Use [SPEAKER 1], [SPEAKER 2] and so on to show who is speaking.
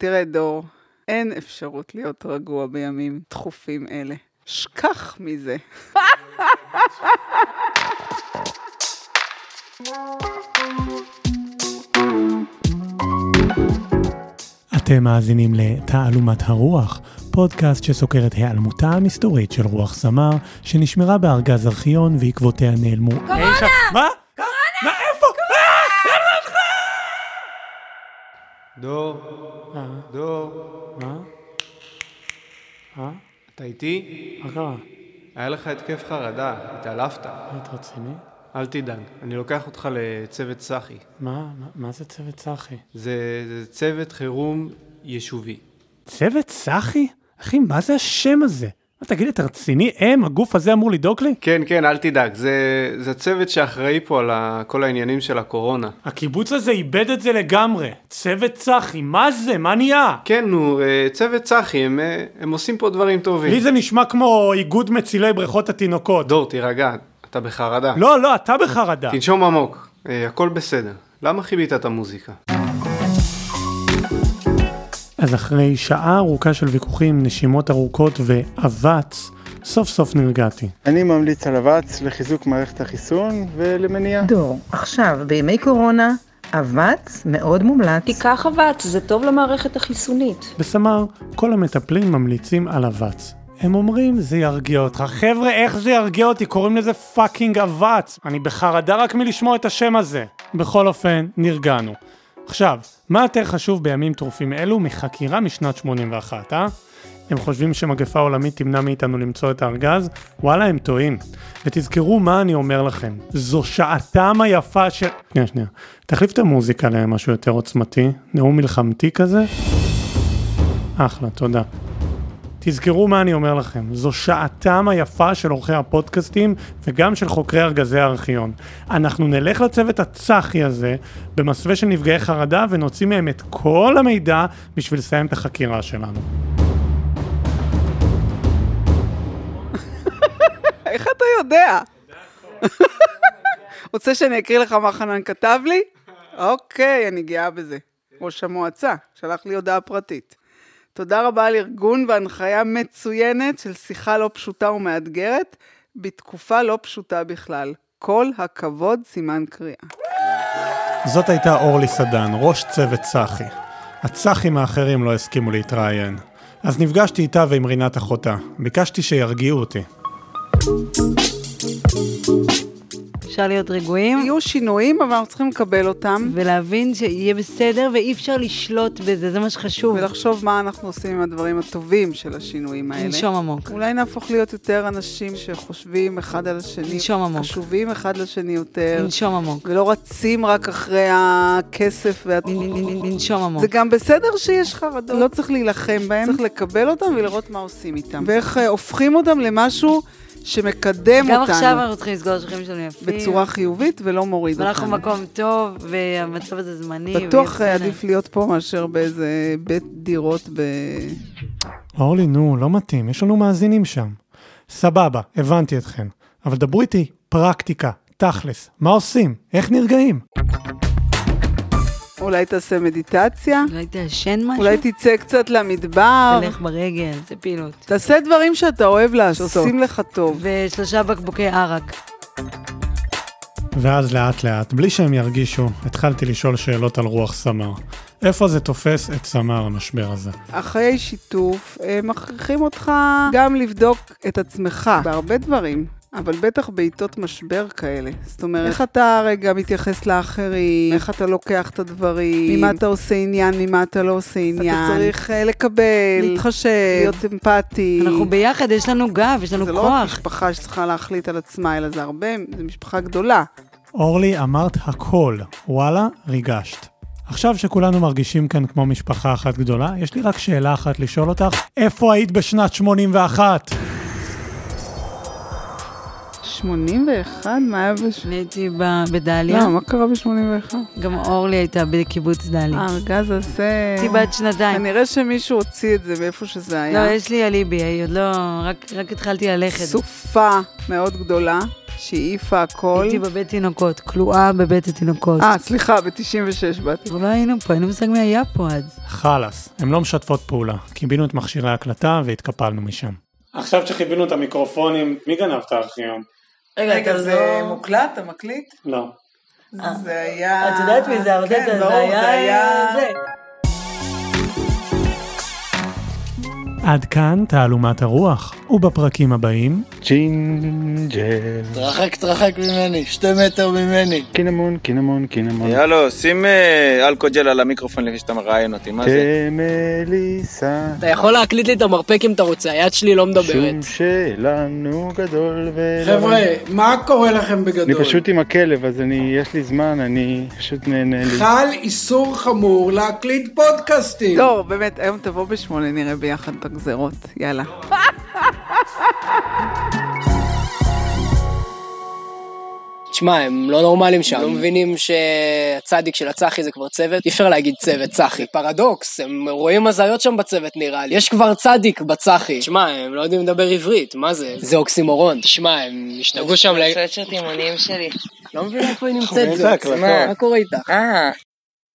[SPEAKER 1] תראה, דור, אין אפשרות להיות רגוע בימים דחופים אלה. שכח מזה.
[SPEAKER 2] אתם מאזינים ל"תעלומת הרוח", פודקאסט שסוקר את היעלמותה המסתורית של רוח סמר, שנשמרה בארגז ארכיון ועקבותיה נעלמו. קורונה! מה? מה? איפה?
[SPEAKER 3] דור, אה? דור,
[SPEAKER 2] מה? אה?
[SPEAKER 3] אתה איתי?
[SPEAKER 2] מה קרה?
[SPEAKER 3] היה לך התקף חרדה, התעלפת.
[SPEAKER 2] מה, אתה רציני?
[SPEAKER 3] אל תדאג, אני לוקח אותך לצוות סחי.
[SPEAKER 2] מה? מה זה צוות צחי?
[SPEAKER 3] זה, זה צוות חירום יישובי.
[SPEAKER 2] צוות סחי? אחי, מה זה השם הזה? מה, תגיד לי, אתה רציני? הם, הגוף הזה אמור לדאוג לי?
[SPEAKER 3] כן, כן, אל תדאג, זה, זה צוות שאחראי פה על ה, כל העניינים של הקורונה.
[SPEAKER 2] הקיבוץ הזה איבד את זה לגמרי. צוות צחי, מה זה? מה נהיה?
[SPEAKER 3] כן, נו, אה, צוות צחי, הם, אה, הם עושים פה דברים טובים.
[SPEAKER 2] לי זה נשמע כמו איגוד מצילי בריכות התינוקות.
[SPEAKER 3] כן. דור, תירגע, אתה בחרדה.
[SPEAKER 2] לא, לא, אתה בחרדה.
[SPEAKER 3] תנשום עמוק, אה, הכל בסדר. למה חיבית את המוזיקה?
[SPEAKER 2] אז אחרי שעה ארוכה של ויכוחים, נשימות ארוכות ואבץ, סוף סוף נרגעתי.
[SPEAKER 4] אני ממליץ על אבץ לחיזוק מערכת החיסון ולמניעה.
[SPEAKER 5] דור, עכשיו, בימי קורונה, אבץ מאוד מומלץ.
[SPEAKER 6] תיקח אבץ, זה טוב למערכת החיסונית.
[SPEAKER 2] בסמר, כל המטפלים ממליצים על אבץ. הם אומרים, זה ירגיע אותך. חבר'ה, איך זה ירגיע אותי? קוראים לזה פאקינג אבץ. אני בחרדה רק מלשמוע את השם הזה. בכל אופן, נרגענו. עכשיו, מה יותר חשוב בימים טרופים אלו מחקירה משנת 81, אה? הם חושבים שמגפה עולמית תמנע מאיתנו למצוא את הארגז? וואלה, הם טועים. ותזכרו מה אני אומר לכם, זו שעתם היפה של... שנייה, שנייה. תחליף את המוזיקה למשהו יותר עוצמתי, נאום מלחמתי כזה. אחלה, תודה. תזכרו מה אני אומר לכם, זו שעתם היפה של עורכי הפודקאסטים וגם של חוקרי ארגזי הארכיון. אנחנו נלך לצוות הצחי הזה במסווה של נפגעי חרדה ונוציא מהם את כל המידע בשביל לסיים את החקירה שלנו.
[SPEAKER 1] איך אתה יודע? רוצה שאני אקריא לך מה חנן כתב לי? אוקיי, אני גאה בזה. ראש המועצה, שלח לי הודעה פרטית. תודה רבה על ארגון והנחיה מצוינת של שיחה לא פשוטה ומאתגרת, בתקופה לא פשוטה בכלל. כל הכבוד, סימן קריאה.
[SPEAKER 2] זאת הייתה אורלי סדן, ראש צוות צחי. הצחים האחרים לא הסכימו להתראיין. אז נפגשתי איתה ועם רינת אחותה. ביקשתי שירגיעו אותי.
[SPEAKER 7] אפשר להיות רגועים
[SPEAKER 1] יהיו שינויים, אבל אנחנו צריכים לקבל אותם,
[SPEAKER 7] ולהבין שיהיה בסדר ואי אפשר לשלוט בזה, זה מה שחשוב.
[SPEAKER 1] ולחשוב מה אנחנו עושים עם הדברים הטובים של השינויים האלה.
[SPEAKER 7] לנשום עמוק.
[SPEAKER 1] אולי נהפוך להיות יותר אנשים שחושבים אחד על השני.
[SPEAKER 7] לנשום עמוק.
[SPEAKER 1] קשובים אחד לשני יותר.
[SPEAKER 7] לנשום עמוק.
[SPEAKER 1] ולא רצים רק אחרי הכסף וה...
[SPEAKER 7] נ- נ- נ- נ- לנשום עמוק.
[SPEAKER 1] זה גם בסדר שיש חרדות, לא צריך להילחם בהם, צריך לקבל אותם ולראות מה עושים איתם. ואיך אה, הופכים אותם למשהו שמקדם
[SPEAKER 7] גם
[SPEAKER 1] אותנו
[SPEAKER 7] עכשיו אנחנו לא צריכים לסגור שחורים שלנו יפים.
[SPEAKER 1] בצורה חיובית ולא מוריד
[SPEAKER 7] ואנחנו
[SPEAKER 1] אותנו.
[SPEAKER 7] במקום טוב, והמצב הזה זמני.
[SPEAKER 1] בטוח
[SPEAKER 7] ויהיה
[SPEAKER 1] אה,
[SPEAKER 7] בסדר.
[SPEAKER 1] עדיף להיות פה מאשר באיזה בית דירות ב...
[SPEAKER 2] אורלי, נו, לא מתאים, יש לנו מאזינים שם. סבבה, הבנתי אתכם. אבל דברו איתי, פרקטיקה, תכלס, מה עושים? איך נרגעים?
[SPEAKER 1] אולי תעשה מדיטציה,
[SPEAKER 7] אולי תעשן משהו?
[SPEAKER 1] אולי תצא קצת למדבר,
[SPEAKER 7] תלך ברגל, זה פעילות.
[SPEAKER 1] תעשה דברים שאתה אוהב לעשות,
[SPEAKER 7] שעושים
[SPEAKER 1] שעושים לך טוב.
[SPEAKER 7] ושלושה בקבוקי ערק.
[SPEAKER 2] ואז לאט לאט, בלי שהם ירגישו, התחלתי לשאול שאלות על רוח סמר. איפה זה תופס את סמר המשבר הזה?
[SPEAKER 1] אחרי שיתוף, אה, מכריחים אותך גם לבדוק את עצמך בהרבה דברים. אבל בטח בעיתות משבר כאלה. זאת אומרת, איך אתה רגע מתייחס לאחרים, איך אתה לוקח את הדברים, ממה אתה עושה עניין, ממה אתה לא עושה עניין. אתה צריך אה, לקבל, להתחשב, להיות אמפתי.
[SPEAKER 7] אנחנו ביחד, יש לנו גב, יש לנו
[SPEAKER 1] זה לא רק
[SPEAKER 7] כוח.
[SPEAKER 1] משפחה שצריכה להחליט על עצמה, אלא זה הרבה, זו משפחה גדולה.
[SPEAKER 2] אורלי, אמרת הכל. וואלה, ריגשת. עכשיו שכולנו מרגישים כאן כמו משפחה אחת גדולה, יש לי רק שאלה אחת לשאול אותך, איפה היית בשנת 81?
[SPEAKER 1] 81? מה היה בש...
[SPEAKER 7] אני הייתי ב- בדליה,
[SPEAKER 1] לא, מה קרה ב-81?
[SPEAKER 7] גם אורלי הייתה בקיבוץ דליה.
[SPEAKER 1] הארגז הזה...
[SPEAKER 7] הייתי בת שנתיים.
[SPEAKER 1] כנראה שמישהו הוציא את זה מאיפה שזה היה.
[SPEAKER 7] לא, יש לי אליבי, היא עוד לא... רק, רק התחלתי ללכת.
[SPEAKER 1] סופה מאוד גדולה, שהעיפה הכל.
[SPEAKER 7] הייתי בבית תינוקות, כלואה בבית התינוקות.
[SPEAKER 1] אה, סליחה, ב-96 באתי.
[SPEAKER 7] כבר לא היינו פה, אין לי מושג מי היה פה אז.
[SPEAKER 2] חלאס, הן לא משתפות פעולה. קיבינו את מכשירי ההקלטה והתקפלנו משם. עכשיו שחיבינו את המיקרופונים, מי גנב את הארכיון?
[SPEAKER 1] רגע, לא- זה מוקלט? אתה מקליט?
[SPEAKER 2] לא.
[SPEAKER 1] זה היה...
[SPEAKER 7] אה. את יודעת מי זה ארדטה,
[SPEAKER 1] כן,
[SPEAKER 7] זה
[SPEAKER 1] ברור,
[SPEAKER 7] היה... זה.
[SPEAKER 2] עד כאן תעלומת הרוח, ובפרקים הבאים,
[SPEAKER 4] ג'ינג'ל.
[SPEAKER 8] תרחק, תרחק ממני, שתי מטר ממני.
[SPEAKER 4] קינמון, קינמון, קינמון.
[SPEAKER 9] יאללה, שים אה, אלכוג'ל על המיקרופון לפני שאתה מראיין אותי, מה זה?
[SPEAKER 4] כמליסה.
[SPEAKER 10] אתה יכול להקליט לי את המרפק אם אתה רוצה, היד שלי לא מדברת.
[SPEAKER 4] שום שלנו גדול ו...
[SPEAKER 8] חבר'ה, מה קורה לכם
[SPEAKER 4] אני
[SPEAKER 8] בגדול?
[SPEAKER 4] פשוט עם הכלב, אז אני, יש לי זמן, אני פשוט נהנה לי.
[SPEAKER 8] חל איסור חמור להקליט פודקאסטים.
[SPEAKER 1] לא, באמת, היום תבוא בשמונה, נראה ביחד את הגזרות. יאללה.
[SPEAKER 10] תשמע, הם לא נורמלים שם. לא מבינים שהצדיק של הצחי זה כבר צוות? אי אפשר להגיד צוות, צחי. פרדוקס, הם רואים הזיות שם בצוות נראה לי. יש כבר צדיק בצחי. תשמע, הם לא יודעים לדבר עברית, מה זה? זה אוקסימורון. תשמע, הם השתגעו שם ל...
[SPEAKER 11] סוואצ'רט אימונים שלי.
[SPEAKER 10] לא מבין איפה היא נמצאת. זאת. מה קורה איתך?
[SPEAKER 11] אה,